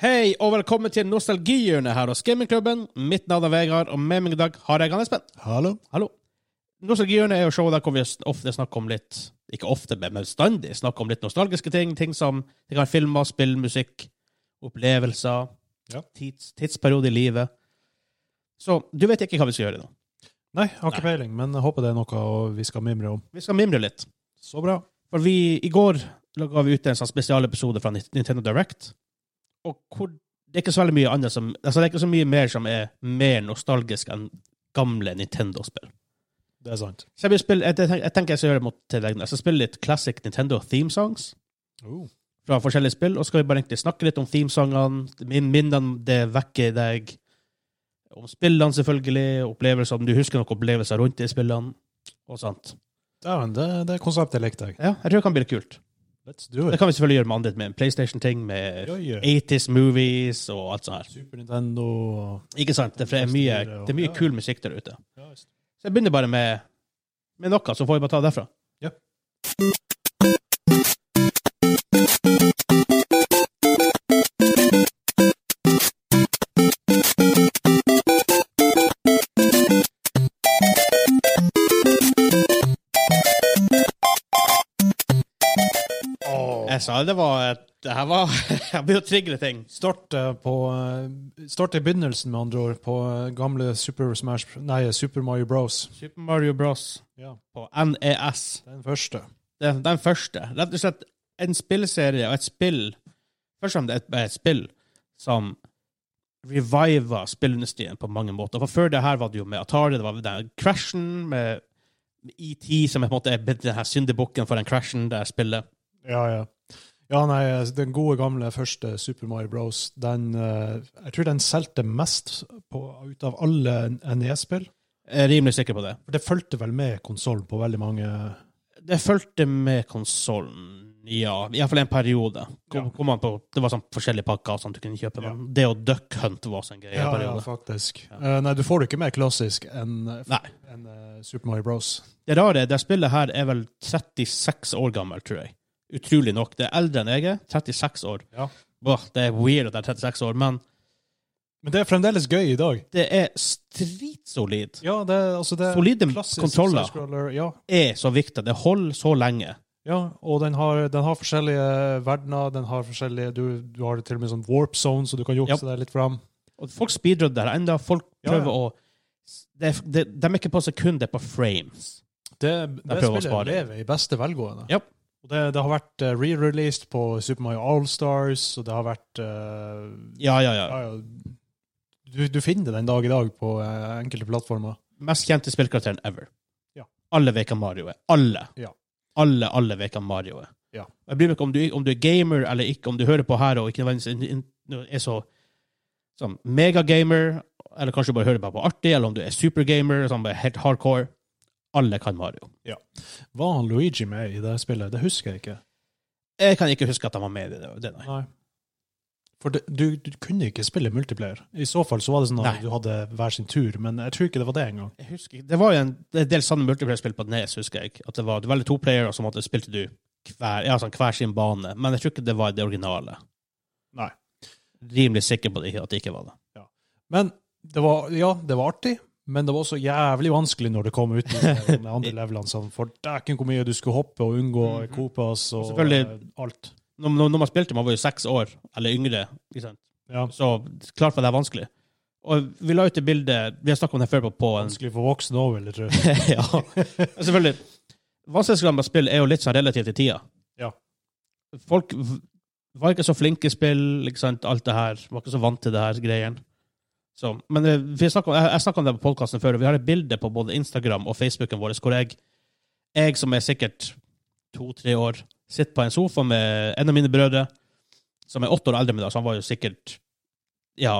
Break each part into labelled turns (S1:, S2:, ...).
S1: Hei, og velkommen til Nostalgihjørnet her hos Gamingklubben. Mitt navn er Vegard, og med meg i dag har jeg han Espen.
S2: Hallo.
S1: Hallo. Nostalgihjørnet er jo showet der hvor vi ofte snakker om litt Ikke ofte, men bestandig snakker om litt nostalgiske ting. Ting som det kan være filmer, spill, musikk, opplevelser,
S2: Ja.
S1: tids, tidsperiode i livet. Så du vet ikke hva vi skal gjøre nå.
S2: Nei, jeg har ikke peiling, men jeg håper det er noe vi skal mimre om.
S1: Vi skal mimre litt.
S2: Så bra.
S1: For vi, i går ga vi ut en sånn spesialepisode fra Nintendo Direct. Og hvor, det er ikke så veldig mye annet som altså Det er ikke så mye mer som er mer nostalgisk enn gamle Nintendo-spill.
S2: Det er sant.
S1: Så jeg, vil spille, jeg, tenker- jeg tenker jeg skal gjøre det mot til deg. nå. Jeg skal spille litt classic Nintendo theme songs
S2: Oh.
S1: fra forskjellige spill, og så skal vi bare egentlig snakke litt om themesangene, min- minnene det vekker i deg, om spillene selvfølgelig, opplevelser, om du husker noen opplevelser rundt de spillene, og sånt.
S2: Dæven, det, det konseptet likte jeg.
S1: Ja, jeg tror det kan bli litt kult.
S2: Let's do
S1: Det
S2: it.
S1: kan vi selvfølgelig gjøre med andre, med PlayStation-ting, med
S2: Oi, oi.
S1: 80s movies og alt sånt her.
S2: Super Nintendo
S1: Ikke sant? Det er mye, det er mye kul musikk der ute. Så jeg begynner bare med, med noe, så får vi bare ta det derfra.
S2: Ja.
S1: Jeg sa det var et- Det her var Jeg begynner å trigge ting.
S2: Starte på eh, Starte i begynnelsen, med andre ord, på eh, gamle Super Smash Nei, Super Mario Bros.
S1: Super Mario Bros.
S2: Ja.
S1: på NES.
S2: Den første.
S1: Det er den første. Rett og slett en spillserie og et spill Først og fremst et, et spill som reviva spillindustrien på mange måter. For Før det her var det jo med Atari, det var den crashen med ET, som er på en måte er blitt den her syndebukken for den crashen det her spillet.
S2: Ja, ja. Ja, nei, eh, den gode gamle første Super Mario Bros, den eh, Jeg tror den solgte mest på, ut av alle NES-spill.
S1: Jeg er rimelig sikker på det.
S2: For det fulgte vel med konsollen på veldig mange
S1: Det fulgte med konsollen, ja. Iallfall en periode. Kom,
S2: Ja.
S1: kom an på, det var sånn forskjellige pakker og sånn du kunne kjøpe.
S2: Ja.
S1: Men det å duck hunt var også en greie. i en
S2: Ja, ja,
S1: periode.
S2: faktisk.
S1: Ja.
S2: Eh, nei, du får det ikke mer klassisk enn
S1: Nei.
S2: enn, eh, Super Mario Bros.
S1: Det rare er det spillet her er vel 36 år gammelt, tror jeg. Utrolig nok. Det er eldre enn jeg er. 36 år.
S2: Ja.
S1: Åh, det er weird at det er 36 år, men
S2: Men det er fremdeles gøy i dag.
S1: det er stritsolid.
S2: Ja, det, er- altså det er
S1: Solide
S2: klassisk
S1: kontroller
S2: side-scroller, Ja,
S1: er så viktig. Det holder så lenge.
S2: ja, og den har, den har forskjellige verdener. Den har forskjellige, du, du har til og med sånn warp zone, så du kan jukse
S1: Ja.
S2: deg litt fram.
S1: Og folk speedrunner det her ennå. Folk
S2: Ja, ja.
S1: prøver å det, det, De er ikke på sekund, det er på frames.
S2: Det, det
S1: prøver å spare.
S2: spillet lever i beste velgående.
S1: Ja.
S2: Og det, det har vært eh, re-released på Super Mario All-Stars, og det har vært eh,
S1: Ja, ja, ja.
S2: ja, ja, du, du finner det den dag i dag på eh, enkelte plattformer.
S1: Mest kjente spillkarakteren ever.
S2: Ja.
S1: Alle vet hvem Mario er. Alle.
S2: Ja.
S1: Alle, alle vet hvem Mario er.
S2: Ja.
S1: Og Jeg bryr meg ikke om du, om du er gamer eller ikke, om du hører på her og ikke nødvendigvis in- in- er så sånn, megagamer, eller kanskje du bare hører bare på artig, eller om du er supergamer, sånn, bare helt hardcore. Alle kan Mario.
S2: Var han Luigi med i det spillet? Det husker jeg ikke.
S1: Jeg kan ikke huske at han var med i det. det nei.
S2: Nei. For det, du, du kunne ikke spille multiplayer. I så fall så var det sånn at
S1: Nei.
S2: du hadde hver sin tur, men jeg tror ikke det var det engang.
S1: Jeg husker, ikke- det var jo en det er en del sanne multiplayer-spill på Nes, husker jeg. At det var, det var veldig to player, og så måtte, spilte du hver, ja, sånn, hver sin bane. Men jeg tror ikke det var det originale.
S2: Nei.
S1: Rimelig sikker på det, at det ikke var det.
S2: Men det var, ja, det var artig, men det var også jævlig vanskelig når det kom ut med de andre levelene. Sånn, for dæken hvor mye du skulle hoppe og unngå
S1: Mhm.
S2: Koopas og
S1: Selvfølgelig.
S2: eh, alt.
S1: når, når, når man spilte, man var jo seks år, eller yngre, ikke sant?
S2: Ja,
S1: så klart var det vanskelig. Og vi la ut det bildet, vi har snakket om det før på, på en...
S2: vanskelig for voksne òg, vil jeg tro.
S1: ja, selvfølgelig. Vanskelighetsgraden med spill er jo litt sånn relativt til tida.
S2: Ja.
S1: Folk v- var ikke så flinke i spill, ikke sant, alt det her, var ikke så vant til det her greien. Så, men eh, vi snakket om, jeg, jeg snakket om det på podcasten før, og vi har et bilde på både Instagram og Facebooken vår, hvor jeg, jeg som er sikkert to-tre år, sitter på en sofa med en av mine brødre, som er åtte år eldre enn meg, da, så han var jo sikkert ja,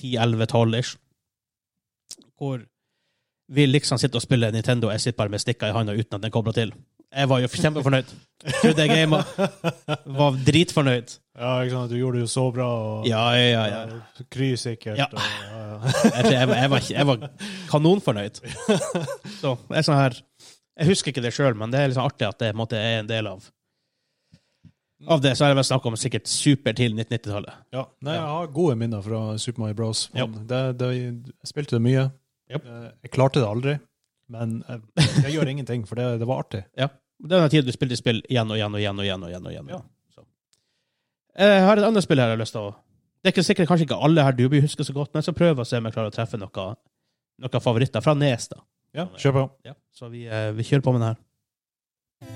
S1: 10-11-12-ish, hvor vi liksom sitter og spiller Nintendo, og jeg sitter bare med stikka i handa uten at den kobler til. Jeg var jo kjempefornøyd. Trodde jeg gamet. Var dritfornøyd.
S2: Ja, ikke sant? Du gjorde det jo så bra. og
S1: Ja, ja, ja.
S2: eh, Krysikkert.
S1: Ja.
S2: og, ja, ja.
S1: Jeg, jeg, jeg, var, jeg var kanonfornøyd. Så det er sånn her Jeg husker ikke det sjøl, men det er liksom artig at det på en måte, er en del av Av det så er det vel snakk om sikkert super til 1990-tallet.
S2: Ja, nei, jeg har gode minner fra Super Mario Bros.
S1: Ja.
S2: Det, det, jeg spilte det mye.
S1: Ja.
S2: Eh, Jeg klarte det aldri, men jeg, jeg gjør ingenting, for det, det var artig.
S1: Det er den tiden du spilte spill igjen og igjen og igjen. og igjen og igjen og igjen.
S2: Ja.
S1: Så. Eh, Jeg har et annet spill her jeg har lyst til å Det er ikke sikkert kanskje ikke alle her du blir husker så godt, men jeg skal prøve å se om jeg klarer å treffe noen noe favoritter fra Nes. da.
S2: Ja, kjør på.
S1: Ja, så vi, eh, vi kjører på med den her.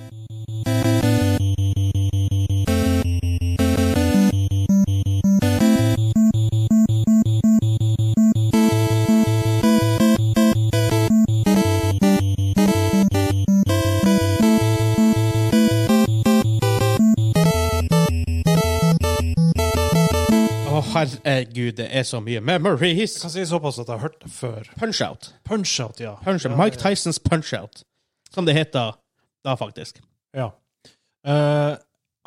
S1: Å, herregud, det er så mye memories!
S2: Jeg kan si såpass at jeg har hørt det før.
S1: Punch-out!
S2: Punch-out, ja.
S1: Punch,
S2: ja,
S1: Mike Tysons Punch-Out, som det heter da, faktisk.
S2: Ja. Eh,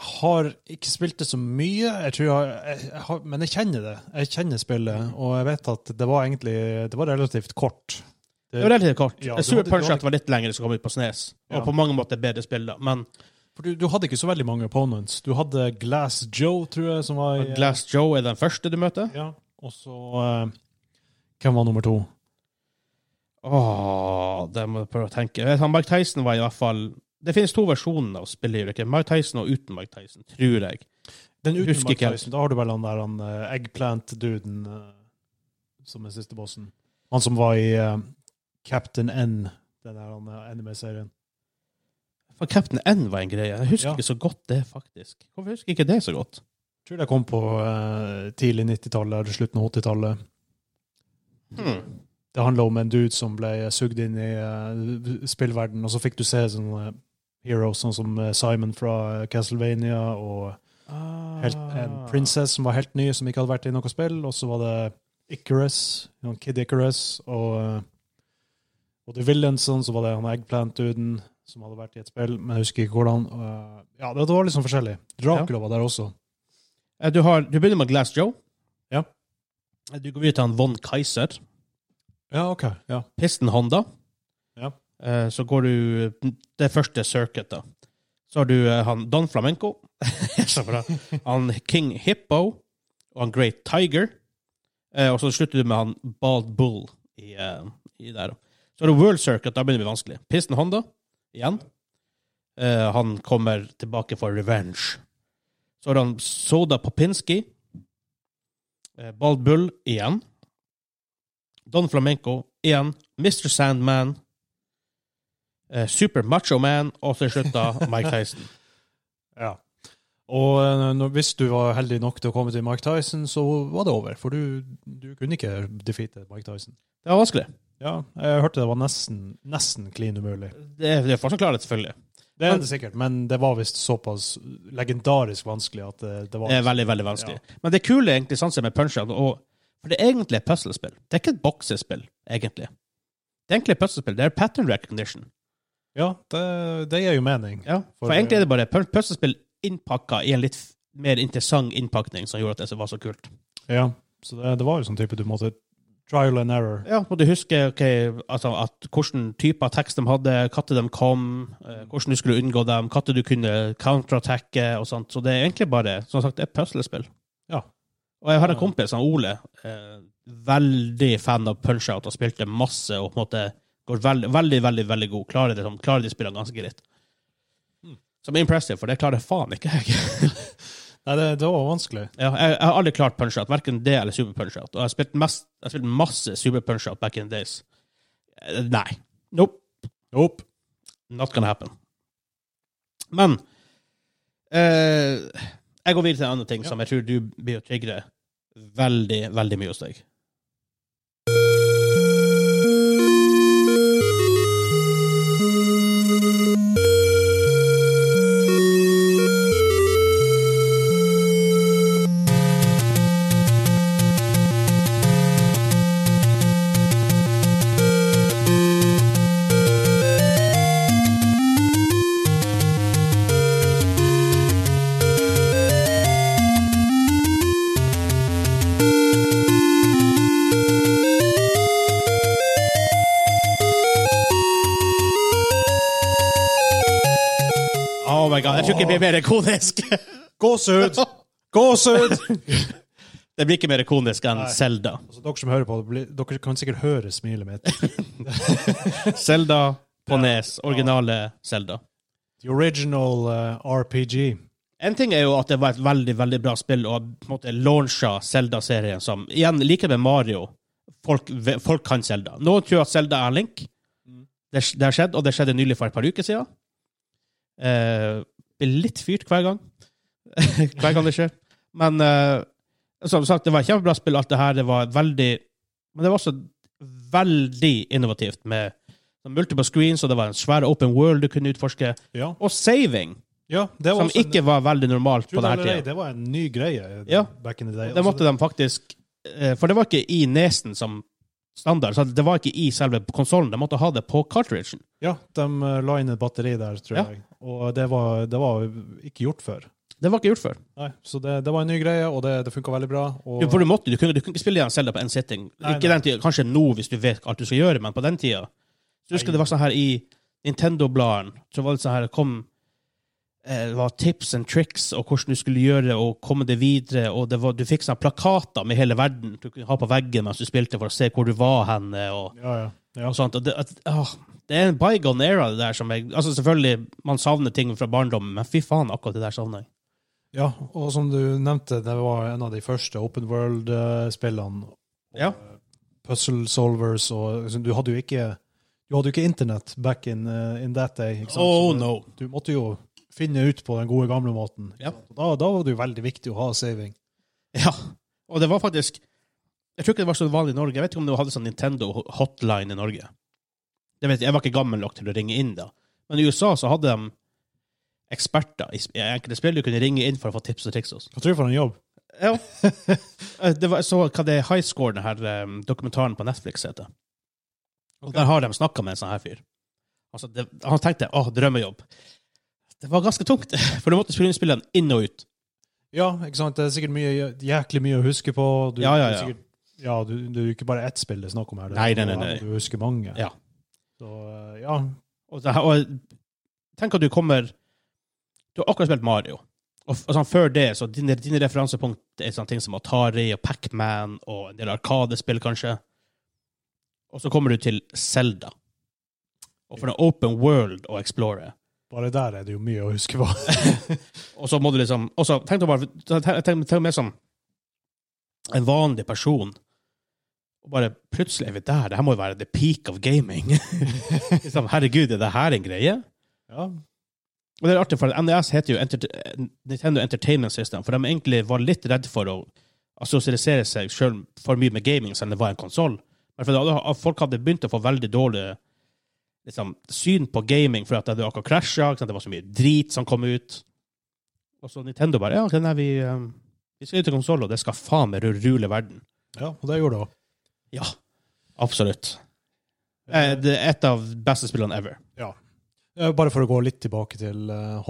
S2: har ikke spilt det så mye, jeg tror jeg, jeg, jeg har, men jeg kjenner det. Jeg kjenner spillet, og jeg vet at det var egentlig det var relativt kort.
S1: Det var relativt kort.
S2: Ja,
S1: jeg
S2: du
S1: tror
S2: hadde- du
S1: Punch-Out var litt lengre som kom ut på Snes,
S2: Ja.
S1: og på mange måter bedre spill, da. Men
S2: For du, du hadde ikke så veldig mange opponents. Du hadde Glass Joe, tror jeg, som var i-
S1: Glass Joe er den første du møter.
S2: Ja. Og så eh, Hvem var nummer to?
S1: Åh, det må jeg prøve å tenke. Jeg vet, han Mike Tyson var i hvert fall Det finnes to versjoner av spillet. gjør det ikke? Mike Tyson og uten Mike Tyson, tror jeg.
S2: Den uten
S1: Husker ikke
S2: Mike
S1: helt.
S2: Tyson. Da har du vel han der han eh, eggplant-duden eh, som er siste bossen. Han som var i eh, Captain N, den der han, eh, anime-serien.
S1: For Captain N var en greie. Jeg husker
S2: Ja.
S1: ikke så godt det, faktisk. Hvorfor husker jeg ikke det så godt?
S2: Jeg tror det kom på eh, tidlig 90-tallet eller slutten av 80-tallet.
S1: Hmm.
S2: Det handla om en dude som ble eh, sugd inn i uh, spillverden, og så fikk du se sånne heroes, sånn som eh, Simon fra eh, Castlevania og Ah. helt, en princess som var helt ny, som ikke hadde vært i noe spill. Og så var det Icarus, you know, Kid Icarus, og, eh, og The Villainson, så var det han Eggplant-duden som hadde vært i et spill, men jeg husker ikke hvordan. eh, ja, det var liksom forskjellig. Dracula var der også.
S1: Eh, Du, har, du begynner med Glass Joe.
S2: Ja.
S1: Eh, Du går videre til han Von Kaiser.
S2: Ja, ok. Ja.
S1: Piston Honda.
S2: Ja.
S1: Eh, Så går du det første circuit, da. Så har du eh, han Don Flamenco. så bra. Han King Hippo. Og han Great Tiger. Eh, Og så slutter du med han Bald Bull i, eh, i der. da. Så har du World Circuit. Da begynner det å bli vanskelig. Piston Honda igjen. Eh, Han kommer tilbake for revenge. Så har han Soda Popinski. Eh, Bald Bull igjen. Don Flamenco igjen, Mr. Sandman, eh, Super Macho Man, og til slutt da Mike Tyson.
S2: Ja. Og eh, når, hvis du var heldig nok til å komme til Mike Tyson, så var det over. For du, du kunne ikke defeate Mike Tyson.
S1: Det var vanskelig.
S2: Ja, jeg hørte det var nesten, nesten klin umulig.
S1: Det, det er fortsatt klarhet, selvfølgelig.
S2: Det er det sikkert, men det var visst såpass legendarisk vanskelig at det, det var liksom-
S1: Det er veldig, veldig vanskelig. Men det kule egentlig sånn som med punch-out, og- for det er egentlig et puzzlespill. Det er ikke et boksespill, egentlig. Det er egentlig et puzzlespill. Det er pattern recognition.
S2: Ja, det, det gir jo mening.
S1: Ja, for, eh,
S2: For-
S1: egentlig er det bare pun- puzzlespill innpakka i en litt f- mer interessant innpakning som gjorde at det var så kult.
S2: Ja, så det, det var jo sånn type du måtte Trial and error.
S1: Ja, og du husker ok, altså, at hvilken type av tekst de hadde, når de kom, eh, hvordan du skulle unngå dem, når du kunne counterattacke og sånt. Så det er egentlig bare som sagt, et puslespill.
S2: Ja.
S1: Og jeg har en kompis, han Ole, eh, veldig fan av punch-out og spilte masse og på en måte går veldig, veldig, veldig, veldig god. Klarer, det, sånn- klarer de spillene ganske greit. Som er impressive, for det klarer faen ikke jeg.
S2: Nei, det, det var vanskelig.
S1: Ja, jeg, jeg har aldri klart punch-out, verken det eller super punch-out. Og jeg har spilt, mest, jeg har spilt masse super punch-out back in the days. Eh, Nei. Nope.
S2: Opp.
S1: Not gonna happen. Men eh, jeg går videre til en annen ting
S2: Ja.
S1: som jeg tror du blir å triggere veldig, veldig mye hos deg. Oh my god, jeg tror ikke det blir mer ikonisk.
S2: Gåsehud! Gåsehud!
S1: Det blir ikke mer ikonisk enn
S2: Nei.
S1: Selda.
S2: Altså, dere som hører på, blir- dere kan sikkert høre smilet mitt.
S1: Selda på nes. Originale Selda.
S2: The original eh, RPG.
S1: En ting er jo at det var et veldig veldig bra spill og på en måte launcha Selda-serien som Igjen, like med Mario. Folk, ve- folk kan Selda. Noen tror at Selda er Link. Det, det har skjedd, og det skjedde nylig for et par uker siden. Eh, blir litt fyrt hver gang. hver gang det skjer. Men eh, som sagt, det var et kjempebra spill, alt det her. Det var veldig Men det var også veldig innovativt med multiple screens, og det var en svær open world du kunne utforske.
S2: Ja,
S1: Og saving
S2: ja det var
S1: som
S2: også en-
S1: ikke var veldig normalt
S2: Tro
S1: på
S2: det
S1: denne
S2: eller ei,
S1: tida.
S2: det var en ny greie eh,
S1: Ja.
S2: back in the day. Altså,
S1: Det måtte de faktisk eh, For det var ikke i nesen som standard. Så det var ikke i selve konsollen. De måtte ha det på cartridgen.
S2: Ja, de eh, la inn et batteri der, tror
S1: Ja.
S2: jeg. Og det var, det var ikke gjort før.
S1: Det var ikke gjort før.
S2: Nei, så det, det var en ny greie, og det, det funka veldig bra. Og,
S1: Du, for du, måtte, du, kunne, du kunne ikke spille igjen Zelda på én sitting.
S2: Nei,
S1: ikke
S2: nei.
S1: den tida. Kanskje nå, hvis du vet alt du skal gjøre, men på den tida Så husker
S2: Nei.
S1: jeg det var sånn her i Nintendo-bladene, så var det sånn her kom eh, det var tips and tricks og hvordan du skulle gjøre og komme det videre. og det var, Du fikk sånne plakater med hele verden du kunne ha på veggen mens du spilte, for å se hvor du var henne. og
S2: ja, ja. ja.
S1: og sånt. Og det, at, åh, det er en bygone era, det der som jeg Altså, selvfølgelig, man savner ting fra barndommen, men fy faen, akkurat det der savner jeg.
S2: ja, og som du nevnte, det var en av de første open world-spillene. eh,
S1: Ja.
S2: Puzzle solvers og liksom, Du hadde jo ikke du hadde jo ikke internett back in, eh, in that day.
S1: Sånn
S2: Ikke sant? Så du-
S1: no.
S2: Du måtte jo finne ut på den gode, gamle måten. ikke
S1: Ja.
S2: sant? Og Da, da var det jo veldig viktig å ha saving.
S1: Ja. Og det var faktisk Jeg tror ikke det var så vanlig i Norge. Jeg vet ikke om det hadde sånn Nintendo hotline i Norge. Det vet jeg, jeg var ikke gammel nok til å ringe inn da. Men i USA så hadde de eksperter i sp- i enkelte spill du kunne ringe inn for å få tips og triks. Også.
S2: Hva tror du for en jobb?
S1: Ja. Eh, det var, så hva det High Score, den her eh, dokumentaren på Netflix, heter. Og der har de snakka med en sånn her fyr. Altså, det, han tenkte 'Å, drømmejobb'. Det var ganske tungt, for du måtte spille inn spillene inn og ut.
S2: Ja, ikke sant? Det er sikkert mye, jæklig mye å huske på. Du,
S1: Ja, ja,
S2: det
S1: ja.
S2: er Sikkert, ja, du, det er jo ikke bare ett spill det er snakk om her. Det er-
S1: Nei, nei, nei, nei.
S2: Du husker mange.
S1: Ja.
S2: Så, eh, ja.
S1: Og, det, her- og tenk at du kommer Du har akkurat spilt Mario, og, f- og sånn, før det så dine, dine referansepunkt er sånne ting som Atari og Pac-Man og en del Arkadespill, kanskje. Og så kommer du til Zelda. Og for en open world å explore.
S2: Bare der er det jo mye å huske på.
S1: Og så må du liksom og så Tenk deg bare tenk, tenk, tenk meg som en vanlig person. Og bare plutselig er vi der. Det her må jo være the peak of gaming. liksom, herregud, er det her en greie?
S2: ja.
S1: Og det er artig, for NES heter jo Enter- Nintendo Entertainment System, for de egentlig var litt redd for å assosiere seg sjøl for mye med gaming, selv om det var en konsoll. Men for da- folk hadde begynt å få veldig dårlig liksom, syn på gaming fordi at det hadde akkurat krasja, det var så mye drit som kom ut. Og så Nintendo bare Ja, ok, nei, vi, eh, vi skal ut til konsoll, og det skal faen meg rule verden.
S2: ja, og det gjorde det òg.
S1: Ja, absolutt. Eh, Det er et av beste spillene ever.
S2: Eh, Bare for å gå litt tilbake til eh,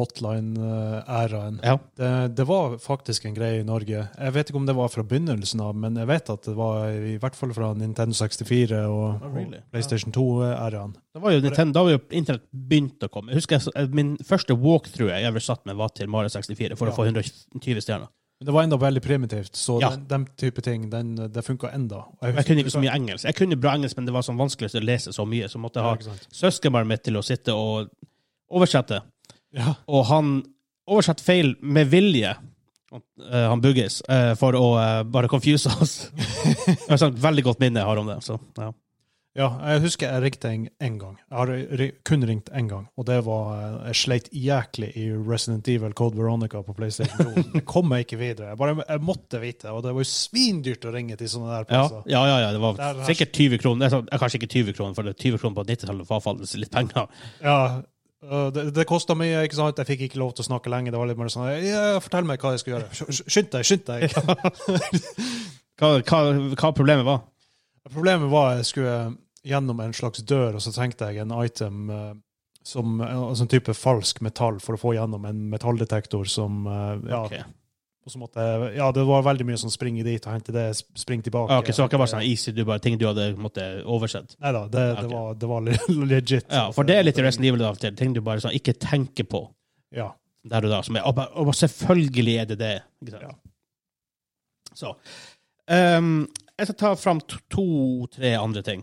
S2: hotline-æraen.
S1: Ja.
S2: Det, det var faktisk en greie i Norge. Jeg vet ikke om det var fra begynnelsen av, men jeg vet at det var i hvert fall fra Nintendo 64 og,
S1: Oh, really?
S2: og PlayStation 2-æraen.
S1: Det var jo Nintendo, da var jo internett begynt å komme. Jeg husker jeg, Min første walkthrough jeg ever satt med, var til Mario 64 for
S2: Ja.
S1: å få 120 stjerner.
S2: Men det var enda veldig primitivt, så
S1: Ja.
S2: den, den type ting, den, det funka enda. Og
S1: Jeg kunne ikke så mye engelsk. Jeg kunne bra engelsk, men det var sånn vanskelig å lese så mye, så måtte
S2: Ja,
S1: jeg
S2: ikke sant?
S1: ha søskenbarnet mitt til å sitte og oversette.
S2: Ja.
S1: Og han oversatte feil med vilje, eh, han Buggis, eh, for å eh, bare confuse oss. Det er sånn veldig godt minne jeg har om det. Så, ja.
S2: Ja, jeg husker jeg ringte en, en gang. Jeg har ri- kun ringt én gang, og det var eh, Jeg sleit jæklig i Resident Evil Code Veronica på PlayStation 2. Jeg kom meg ikke videre. Jeg, bare, jeg måtte vite, og det var jo svindyrt å ringe til sånne der
S1: Ja,
S2: plasser.
S1: ja, ja, ja, Altså. det var
S2: Der-
S1: sikkert 20 kroner. Det er sånn- eh, Kanskje ikke 20 kroner, for det er 20 kroner på 90-tallet var faktisk litt penger.
S2: Ja. eh, det det kosta mye, ikke sant? jeg fikk ikke lov til å snakke lenge. Det var litt mer sånn ja, 'Fortell meg hva jeg skal gjøre.' Sky- sky- Skynd deg, skynd deg!
S1: Hva, hva, hva problemet var?
S2: Problemet var jeg skulle gjennom en slags dør, og så trengte jeg en item eh, som altså en type falsk metall for å få gjennom en metalldetektor som eh, ja,
S1: Ok.
S2: og så måtte jeg, ja, det var veldig mye sånn springe dit og hente det, sp- spring tilbake.
S1: Ah, ok, så det var ikke bare sånn easy, du bare ting du hadde måtte oversett.
S2: Neida, det, det,
S1: Ok.
S2: var, det var le- legit.
S1: Ja, for det er litt i Resident Evil av og til, ting du bare sånn ikke tenker på.
S2: Ja.
S1: der og da. Som er, og, ba- og selvfølgelig er det det. Ikke sant? Så ehm, Jeg skal ta fram to-tre andre ting.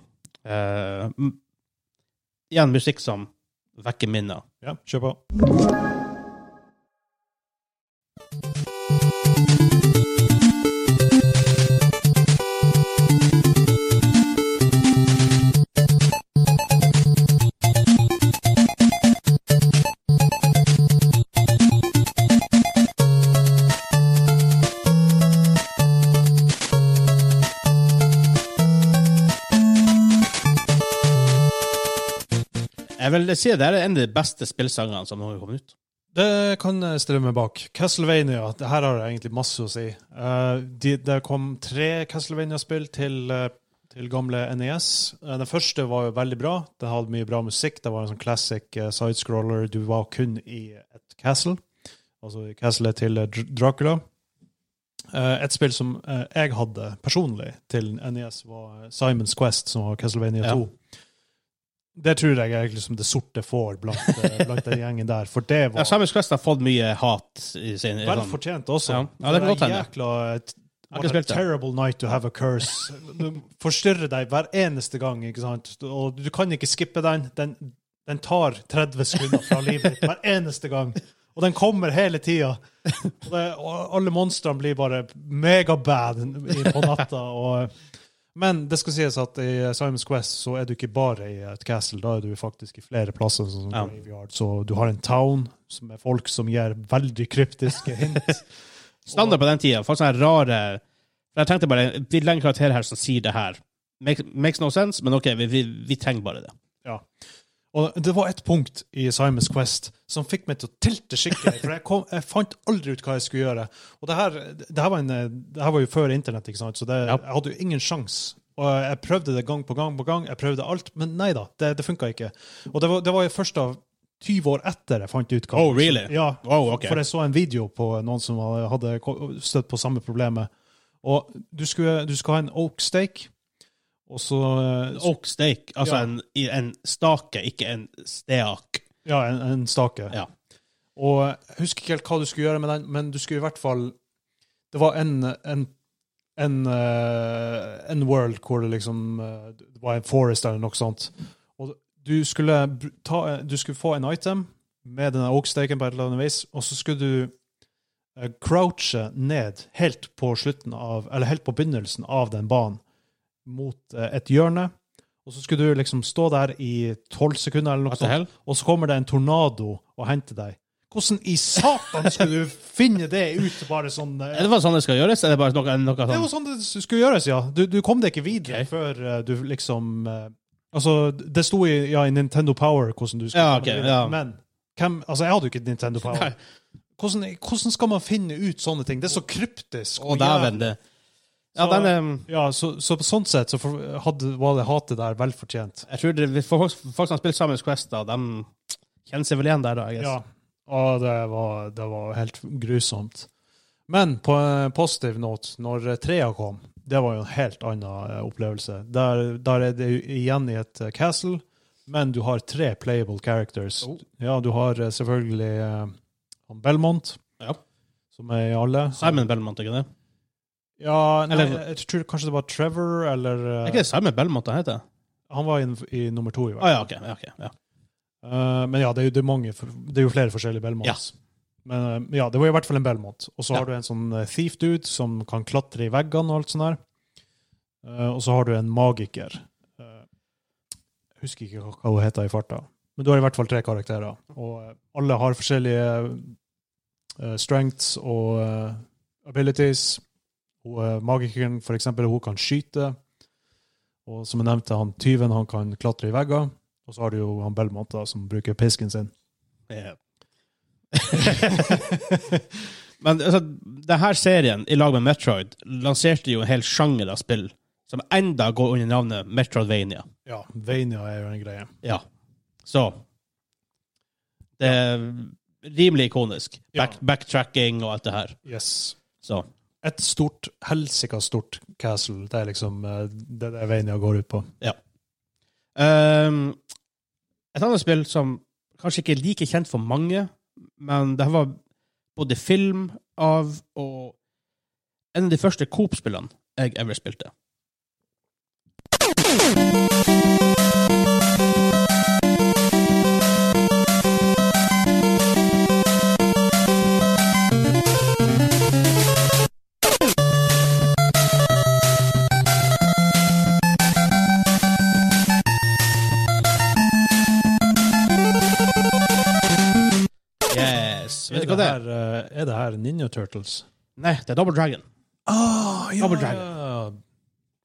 S1: Eh, m- igjen musikk som vekker minner.
S2: Ja, kjør på.
S1: Jeg vil si det er en av de beste spillsangene som har kommet ut.
S2: Det kan jeg stille meg bak. Castlevania, det her har jeg egentlig masse å si. Eh, de, det kom tre Castlevania-spill til, eh, til gamle NES. Eh, den første var jo veldig bra. Den hadde mye bra musikk. Det var en sånn classic eh, sidescroller. Du var kun i et castle. Altså i castlet til eh, Dr- Dracula. Eh, et spill som eh, jeg hadde personlig til NES, var Simons Quest, som var Castlevania
S1: Ja.
S2: 2. Det tror jeg er liksom det sorte får blant, eh, blant den gjengen der. For det
S1: Ja,
S2: var
S1: Samus Quest har fått mye hat i sin i
S2: Vel
S1: sånn-
S2: fortjent
S1: Ja.
S2: også.
S1: Ja, det kan godt hende.
S2: Jækla, eh,
S1: har
S2: et-
S1: ikke
S2: what a
S1: spilt det.
S2: terrible night to have a curse. Du forstyrrer deg hver eneste gang, ikke sant? Og du kan ikke skippe den. Den, den tar 30 sekunder fra livet ditt hver eneste gang. Og den kommer hele tida. Og, det- og alle monstrene blir bare megabad i- på natta. Og, men det skal sies at i Simons Quest så er du ikke bare i et castle, da er du faktisk i flere plasser. Sånn som
S1: Ja.
S2: graveyard. Så du har en town som er folk som gir veldig kryptiske hint.
S1: Standard på den tida. Folk sånne rare for Jeg tenkte bare Vi legger en karakter her som sier det her. Make, makes no sense, men OK, vi, vi, vi trenger bare det.
S2: Og det var et punkt i Simons Quest som fikk meg til å tilte skikkelig. For jeg, kom, jeg fant aldri ut hva jeg skulle gjøre. Og det her, det her, var, en, det her var jo før internett, ikke sant? så det,
S1: Ja.
S2: jeg hadde jo ingen sjanse. Og jeg prøvde det gang på gang på gang, jeg prøvde alt, men nei da, det, det funka ikke. Og det var, det var jo først av 20 år etter jeg fant ut hva
S1: Oh, really?
S2: Ja,
S1: Wow, ok.
S2: For jeg så en video på noen som hadde- hadde ko- støtt på samme problemet. Og du skulle, du skulle ha en oak steak, og så
S1: Oak steak. Altså
S2: Ja.
S1: en, i- en stake, ikke en steak.
S2: Ja, en, en stake.
S1: Ja.
S2: Og jeg husker ikke helt hva du skulle gjøre med den, men du skulle i hvert fall Det var en, en, en, eh, en world hvor det liksom eh, Det var en forest eller noe sånt. Og du skulle, br- ta, du skulle få en item med denne oakstaken på et eller annet vis, og så skulle du eh, crouche ned helt på slutten av Eller helt på begynnelsen av den banen mot eh, et hjørne. Og så skulle du liksom stå der i tolv sekunder, eller noe
S1: What the
S2: sånt
S1: hell?
S2: og så kommer det en tornado og henter deg. Hvordan i satan skulle du finne det ut? bare sånn... eh,
S1: Er det bare sånn det skal gjøres? Er det bare noe, noe
S2: Det var
S1: sånn
S2: sånn det skulle gjøres, ja. Du, du kom deg ikke videre
S1: Ok.
S2: før eh, du liksom eh, Altså, det sto i, ja, i Nintendo Power hvordan du skulle
S1: Ja,
S2: komme
S1: ok,
S2: videre,
S1: ja.
S2: men hvem, altså, jeg hadde jo ikke Nintendo Power.
S1: Nei.
S2: Hvordan, hvordan skal man finne ut sånne ting? Det er så kryptisk.
S1: Å,
S2: og
S1: dæven, det Ja,
S2: Så-
S1: den ehm, er
S2: jævlig. Ja, så, så på sånn sett så for, hadde, var det hatet der velfortjent.
S1: Jeg tror det, for folk, folk som har spilt Samus Quest, da, de kjenner seg vel igjen der, da. jeg guess.
S2: Ja, og det var, det var helt grusomt. Men på en positiv note, når trea kom, det var jo en helt annen eh, opplevelse. Der, der er det jo igjen i et eh, castle, men du har tre playable characters.
S1: Oh.
S2: Ja, du har eh, selvfølgelig eh, han Belmont,
S1: Ja.
S2: som er i alle.
S1: Simon Belmont, ikke det?
S2: Ja, nei,
S1: Eller-
S2: jeg tror kanskje det var Trevor, eller
S1: Er
S2: eh,
S1: ikke det Simon Belmont han heter?
S2: Han var i, i nummer to, i
S1: Å
S2: hvert fall.
S1: ja, OK. Ja, ok, ja.
S2: Eh, men ja, det er, jo, det, er mange, det er jo flere forskjellige Belmonts.
S1: Ja.
S2: Men eh, ja, det var i hvert fall en Belmont. Og så
S1: Ja.
S2: har du en sånn eh, thief dude som kan klatre i veggene og alt sånt der. Eh, og så har du en magiker. Eh, Jeg husker ikke hva- hva hun heter i farta. Men du har i hvert fall tre karakterer. Og eh, alle har forskjellige eh, strengths og eh, abilities. Hun, eh, magikeren, for eksempel, hun kan skyte. Og som jeg nevnte, han tyven han kan klatre i vegger. Og så har du jo han Belmont da, som bruker pisken sin.
S1: Ja. Men altså, denne serien, i lag med Metroid, lanserte jo en hel sjanger av spill som enda går under navnet Metroidvania.
S2: Ja, Vania er jo en greie.
S1: Ja. Så Det er rimelig ikonisk. Back,
S2: Ja.
S1: Backtracking og alt det her.
S2: Yes.
S1: Så
S2: Et stort, helsika stort castle. Det er liksom eh, det det Vania går ut på.
S1: ehm, Et annet spill som kanskje ikke er like kjent for mange, Men det her var både film av og en av de første Coop-spillene jeg ever spilte. Yes. Vet du hva det er?
S2: her, eh, er det her Ninja Turtles?
S1: Nei, det er Double Dragon.
S2: Ah, ja!
S1: Double Dragon.
S2: ja.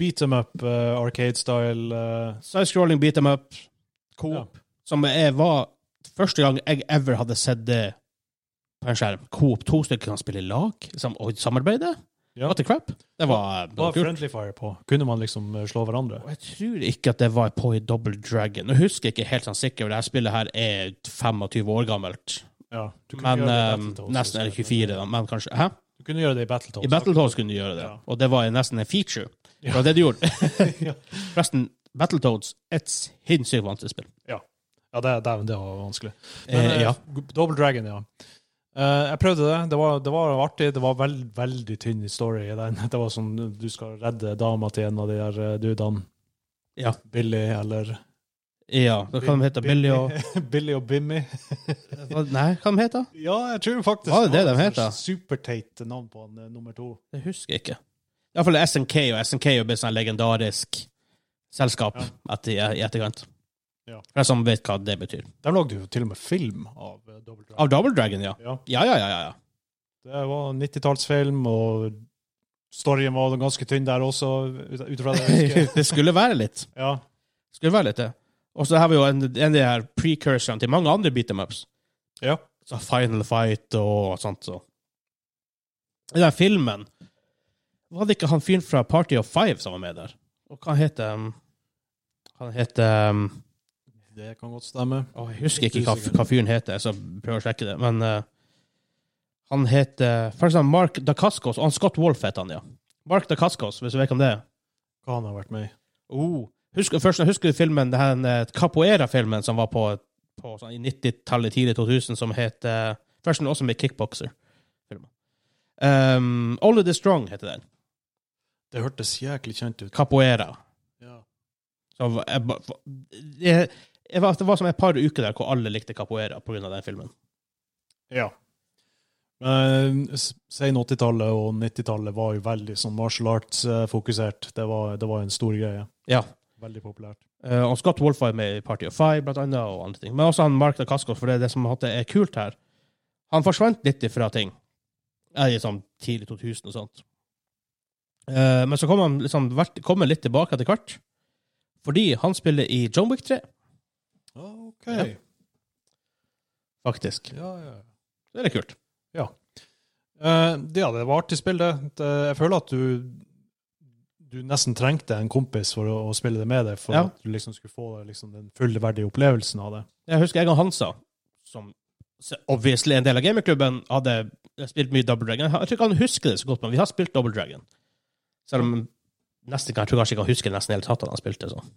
S2: Beat them up, eh, arcade style. eh,
S1: Sidescrolling, beat them up,
S2: Ja.
S1: Coop. Som jeg var første gang jeg ever hadde sett det på en skjerm. Coop, to stykker kan spille i lag sam og samarbeide.
S2: Ja.
S1: What the crap? Det var, det
S2: var
S1: var kult.
S2: friendly fire på? Kunne man liksom eh, slå hverandre?
S1: Og jeg tror ikke at det var på i Double Dragon. Nå husker jeg ikke helt sånn sikkert, for det her spillet her er 25 år gammelt.
S2: Ja. du kunne
S1: Men
S2: gjøre det i
S1: eh,
S2: Battletoads,
S1: nesten eller
S2: liksom.
S1: 24, da, men kanskje Hæ?
S2: Du kunne gjøre det i
S1: I
S2: Battletoads.
S1: Battletoads kunne du gjøre det,
S2: Ja.
S1: og det var nesten en feature. Det
S2: Ja.
S1: var det du gjorde.
S2: ja,
S1: Forresten, Battletoads et sinnssykt vanskelig spill.
S2: ja det, det, det var vanskelig. Men,
S1: Eh,
S2: eh,
S1: ja.
S2: Double Dragon, ja. Eh, jeg prøvde det. Det var, det var artig. Det var veld, veldig tynn story i den. Det var sånn du skal redde dama til en av de her eh, dudene.
S1: Ja.
S2: Billy eller
S1: ja. Da kan de hete Billy og
S2: Billy og Bimmy.
S1: Hva- Nei, hva de heter de?
S2: Ja, jeg tror faktisk
S1: Var det det de
S2: var et
S1: het, da?
S2: Superteit navn på han, eh, nummer to.
S1: Det husker jeg ikke. Iallfall SNK, og SNK er jo blitt sånn legendarisk selskap
S2: Ja.
S1: etter, i etterkant.
S2: Ja.
S1: For de som vet hva det betyr.
S2: Der lagde jo til og med film av eh, Double Dragon.
S1: Av Double Dragon, ja.
S2: Ja,
S1: Ja, ja, ja. ja, ja.
S2: det var 90-tallsfilm, og storyen var ganske tynn der også, ut ut fra det jeg husker.
S1: det skulle være litt.
S2: Ja.
S1: Skulle være litt det. Og så har vi jo en, en av de her precursorene til mange andre beat em ups.
S2: Ja.
S1: Så Final Fight og sånt. Så. I den filmen var det ikke han fyren fra Party of Five som var med der. Og hva heter um, Han heter um,
S2: Det kan godt stemme.
S1: å, Jeg husker ikke hva, hva fyren heter, så jeg prøver å sjekke det. Men eh, han heter For eksempel Mark Dacascos, og han Scott Wolff heter han, ja. Mark Dacascos, hvis du vet hvem det er.
S2: Hva han har vært med i.
S1: Oh. Husker, først, husker du filmen, den eh, capoeira-filmen som var på, på sånn, i 90-tallet, tidlig 2000, som het eh, Først den også med kickbokser. Um, Only the Strong heter den.
S2: Det hørtes jæklig kjent ut.
S1: Capoeira.
S2: Ja.
S1: Så jeg, ba- jeg, jeg, var- det var som et par uker der hvor alle likte capoeira pga. den filmen.
S2: ja. Men, eh, s- Sen 80-tallet og 90-tallet var jo veldig sånn martial arts-fokusert. Det, var- det var en stor greie.
S1: Ja.
S2: Veldig populært.
S1: Eh, og Scott Wolff var med i Party of Five, blant annet, og andre ting. Men også han Mark Dacascos, for det er det som at det er kult her. Han forsvant litt fra ting. Ja, i sånn tidlig 2000 og sånt. Eh, men så kom han liksom, vært- kommer litt tilbake etter hvert. Fordi han spiller i John Wick 3,
S2: Ah, OK.
S1: Ja. faktisk.
S2: ja, ja.
S1: Det er litt kult.
S2: Eh, det- ja, det var artig spill, det. det. Jeg føler at du du nesten trengte en kompis for å, å spille det med deg, for
S1: Ja.
S2: at du liksom skulle få liksom, den fullverdige opplevelsen av det.
S1: Jeg husker jeg og Hansa, som obviously er en del av gamingklubben, hadde spilt mye Double Dragon. Jeg tror ikke han husker det så godt, men vi har spilt Double Dragon. Selv om nesten, jeg tror kanskje ikke han husker nesten helt tatt at han spilte sånn.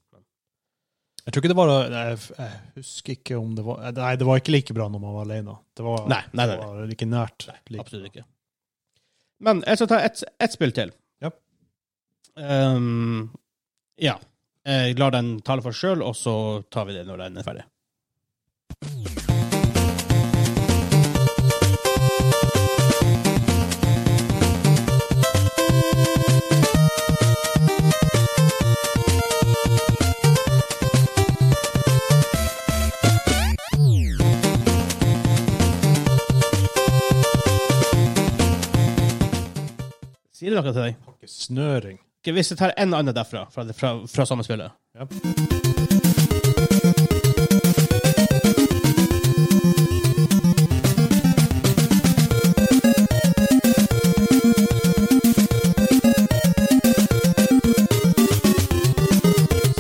S2: Jeg tror ikke det var
S1: eh,
S2: Jeg, jeg husker ikke om det var eh, Nei, det var ikke like bra når man var alene. Det var,
S1: Nei, nei, nei,
S2: det var like nært. like
S1: Absolutt ikke. Men jeg skal ta ett ett spill til.
S2: Ja.
S1: Ehm, ja. Jeg lar den tale for seg sjøl, og så tar vi det når den er ferdig. Sier det noe til deg?
S2: Ikke Snøring.
S1: Ok, hvis jeg tar en annen derfra, fra, fra, fra samme spillet
S2: Ja.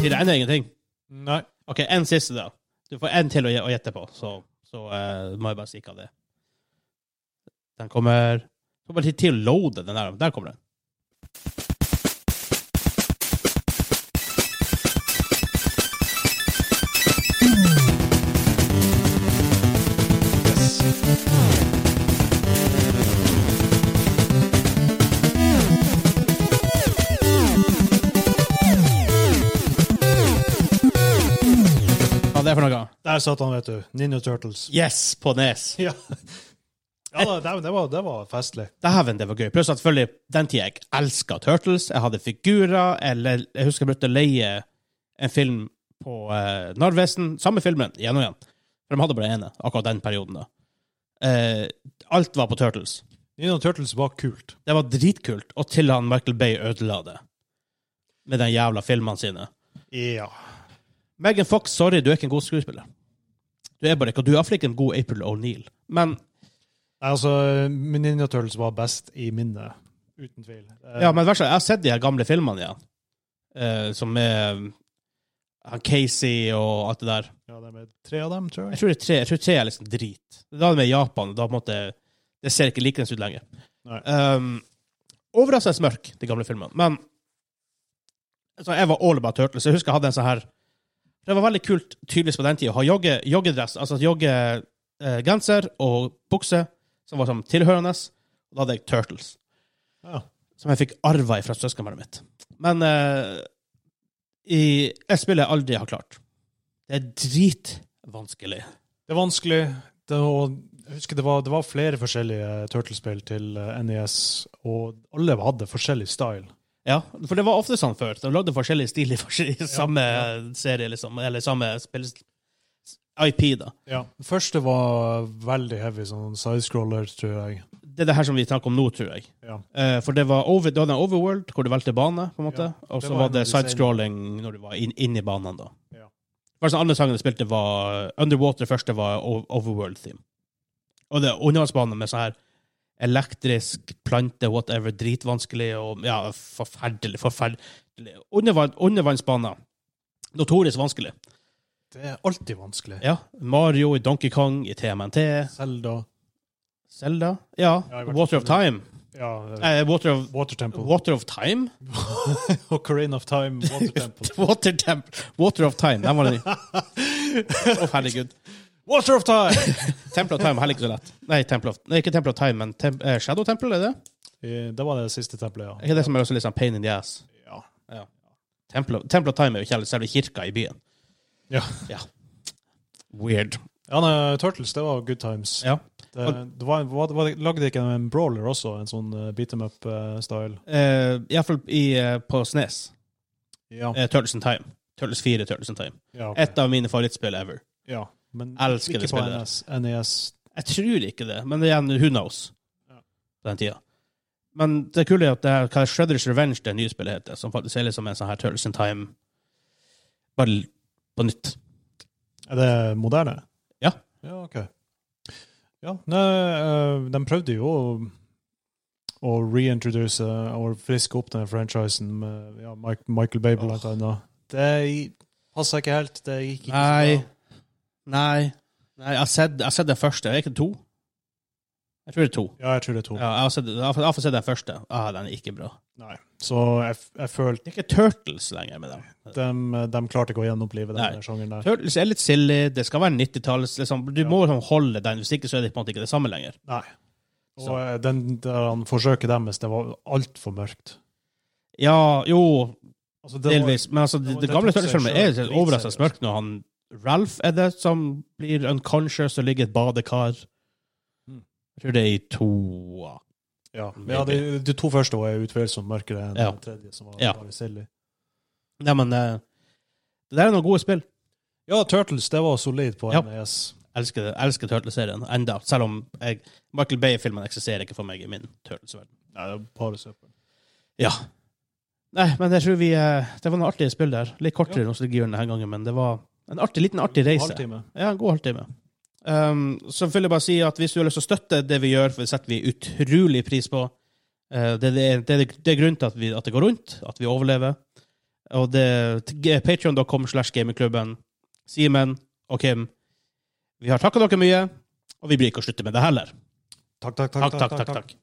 S1: Sier det ennå ingenting?
S2: Nei.
S1: OK, en siste, da. Du får en til å, gje- å gjette på, så, så eh, må jeg bare si hva det er. Den kommer Du får bare tid til å loade den der. Der kommer den.
S2: Yes.
S1: det for noe?
S2: Der satt han, vet du. Ninja Turtles.
S1: Yes, på E Nes.
S2: Ja, ja da, det, det, var, det var festlig.
S1: Dæven, det var gøy. Pluss at selvfølgelig, den tida jeg elska Turtles. Jeg hadde figurer. Jeg, le- jeg husker jeg brukte å leie en film på eh, Narvesen. Samme filmen, igjen og igjen. For de hadde bare ene, akkurat den perioden. da. Eh, alt var på Turtles.
S2: Ninja Turtles var kult.
S1: Det var dritkult, og til han Michael Bay ødela det. Med de jævla filmene sine.
S2: Ja.
S1: Megan Fox, sorry, du er ikke en god skuespiller. Du er bare ikke, og du er iallfall ikke en god April O'Neill. Men,
S2: Nei, Altså, Ninja Turtles var best i minnet. Uten tvil. Eh,
S1: ja, men vær så, jeg har sett de her gamle filmene igjen, eh, som er han Casey og alt det der.
S2: ja, det er med tre av dem, tror
S1: Jeg
S2: jeg.
S1: tror, det er tre, jeg tror tre er liksom drit. Da er det med Japan, og da på en måte Det ser ikke likeens ut lenger.
S2: Nei.
S1: Um, Overraskende mørk, de gamle filmene. Men altså, jeg var all about turtles. Jeg husker jeg hadde en sånn her Det var veldig kult, tydeligvis på den tida, å ha jogge, joggedress, altså joggegenser og bukse som var sånn tilhørende. Og da hadde jeg turtles,
S2: Ja.
S1: som jeg fikk arva fra søskenbarnet mitt. Men eh, i et spill jeg aldri har klart. Det er dritvanskelig.
S2: Det er vanskelig. Det var, jeg husker det var, det var flere forskjellige Turtles-spill til eh, NES, og alle hadde forskjellig style.
S1: Ja, for det var ofte sånn før. De lagde forskjellige stiler i forskjellige- samme
S2: ja.
S1: serie, liksom, eller samme spill... IP, da.
S2: Ja. Den første var veldig heavy, sånn sidescroller, tror jeg.
S1: Det er det her som vi snakker om nå, tror jeg.
S2: Ja.
S1: Eh, for det var over, du hadde en overworld, hvor du valgte bane, på en måte, og
S2: det
S1: så
S2: var
S1: var
S2: en
S1: det
S2: av de
S1: sidescrolling når du var inn, inn i banene, da.
S2: Ja.
S1: Det var sånn, andre sangene du spilte, var Underwater, første var O- Overworld-theme. Og det er undervannsbane med sånn her elektrisk plante, whatever, dritvanskelig og ja, forferdelig, forferdelig. Undervann, undervannsbane, notorisk vanskelig.
S2: Det er alltid vanskelig.
S1: Ja. Mario i Donkey Kong i TMNT.
S2: Zelda
S1: Zelda. Ja.
S2: Ja, i hvert
S1: Water of
S2: fall.
S1: Time.
S2: ja, eh,
S1: Eh, Water of
S2: Water Temple.
S1: Water of Time?
S2: Ocarina of Time, Water Temple.
S1: Water Temp... Water of Time. Den var ny. Å, herregud.
S2: Water of Time!
S1: Temple of Time er heller ikke så lett. Nei, Temple of... Nei, ikke Temple of Time, men Tem- eh, Shadow Temple, er det?
S2: Eh, Det var det siste tempelet,
S1: Er ikke det som er også litt sånn pain in the ass?
S2: ja.
S1: Ja. Temple of, Temple of Time er jo ikke selve kirka i byen.
S2: Ja.
S1: ja. Weird.
S2: Ja, nei, Turtles, det var good times.
S1: Ja.
S2: Det, det var, var, var, lagde ikke en brawler også, en sånn eh, beat them up-style?
S1: Eh, Iallfall uh, på Snes.
S2: Ja.
S1: Eh, Turtles in Time. Turtles 4, Turtles in Time.
S2: ja, ok.
S1: Et av mine favorittspill ever.
S2: ja. Men
S1: Elsker det
S2: ikke på
S1: spillet.
S2: NES. NES.
S1: Jeg tror ikke det, men det er igjen, who knows?
S2: Ja.
S1: På den tida. Men det kule er at det her, hva Shredders Revenge, det nye spillet heter, som faktisk er liksom en sånn her Turtles in Time, bare l- på nytt.
S2: Er det moderne?
S1: Ja.
S2: Ja, ok. Ja, nei, eh, de prøvde jo å, å reintroduce eh, og friske opp den franchisen med ja, Mike, Michael Bay, blant annet. Det passa ikke helt. Det gikk ikke
S1: Nei.
S2: så bra.
S1: Nei, Nei jeg har sett, jeg har sett den første. Er det ikke to? Jeg tror det er to.
S2: Ja, jeg tror det er to.
S1: Ja, jeg har sett, jeg har, jeg har fått sett den første. Ah, den er ikke bra.
S2: Nei. Så jeg, f- jeg følte
S1: Det er ikke Turtles lenger med dem.
S2: de, de klarte ikke å gjenopplive
S1: Nei.
S2: den sjangeren der.
S1: Turtles er litt silly, det skal være 90-tallet. Liksom. Du
S2: Ja.
S1: må liksom holde den, hvis ikke så er det på en måte ikke det samme lenger.
S2: Nei. Og
S1: Så.
S2: eh, den, der han forsøket deres, det var altfor mørkt.
S1: Ja, jo,
S2: Altså, det var-
S1: Delvis. Men altså,
S2: det
S1: det,
S2: var-
S1: det
S2: det
S1: gamle
S2: tok seg
S1: Turtles-filmen
S2: selv
S1: er
S2: litt
S1: overraskende
S2: seriøst.
S1: mørkt når han Ralph er det som blir unconscious og ligger i et badekar.
S2: Mm.
S1: Jeg tror det er i toa.
S2: Ja, ja de, de to første var jo utvilsomt mørkere
S1: Mm.
S2: enn
S1: Ja.
S2: den tredje, som var
S1: Ja.
S2: bare silly.
S1: Nei, men eh, det der er noen gode spill.
S2: Ja, Turtles, det var solid på E
S1: Ja.
S2: NES.
S1: Elsker, det. elsker Turtles-serien enda, selv om jeg, Michael Bay-filmen eksisterer ikke for meg i min Turtles-verden.
S2: Nei, det var bare søppel.
S1: Ja. Nei, men jeg tror vi eh, Det var noen artige spill der. Litt kortere nostalgi denne gangen, men det var en artig, liten artig reise.
S2: Halvtime.
S1: Ja, en god halvtime. Um, så vil jeg bare si at hvis du har lyst til å støtte det vi gjør, for det setter vi utrolig pris på Eh, Det, det, det, det er grunnen til at, vi, at det går rundt, at vi overlever. Og det Patreon.com slash gamingklubben. Simen og Kim, vi har takka dere mye, og vi blir ikke å slutte med det heller.
S2: Takk, takk, takk.
S1: Takk, takk, takk. takk,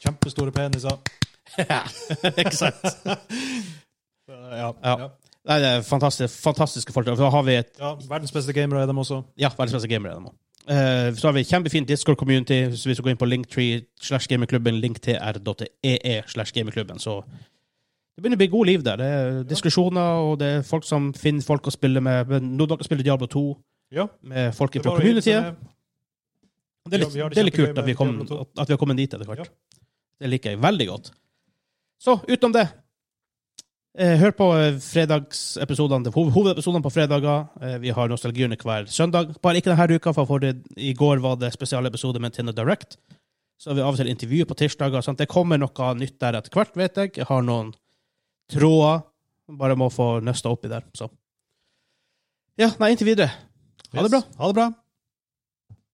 S2: Kjempestore peniser.
S1: ikke sant? Ja.
S2: Ja. Ja.
S1: Nei, det er fantastisk, fantastiske folk. Da har vi et
S2: ja. Verdens beste gamere er dem også.
S1: Ja, verdens beste gamere. er de også. Eh, så har vi et kjempefint Discord-community. så Hvis du går inn på linktree slash gamingklubben, linktr.ee slash gamingklubben, så Det begynner å bli god liv der. Det er diskusjoner, og det er folk som finner folk å spille med. Men Nå dere spiller Diablo 2
S2: Ja.
S1: med folk
S2: Det
S1: fra
S2: var jo
S1: communityet.
S2: litt, eh,
S1: Det er litt,
S2: Ja, vi har det
S1: det er litt
S2: kjempegøy
S1: kult at vi,
S2: med
S1: kom,
S2: Diablo 2.
S1: at, at vi har kommet dit etter hvert.
S2: Ja.
S1: Det liker jeg veldig godt. Så, utenom det eh, Hør på eh, fredagsepisodene til hov- hovedepisodene på fredager. Eh, vi har Nostalgiene hver søndag. Bare ikke denne uka, for forrige- i går var det spesialepisode med Tinna Direct. Så har vi av og til intervjuer på tirsdager. Sant? Det kommer noe nytt der etter hvert, vet jeg. Jeg har noen tråder. Bare må få nøsta oppi der. Så. Ja, nei, inntil videre. Ha det
S2: Yes.
S1: bra.
S2: Ha det bra.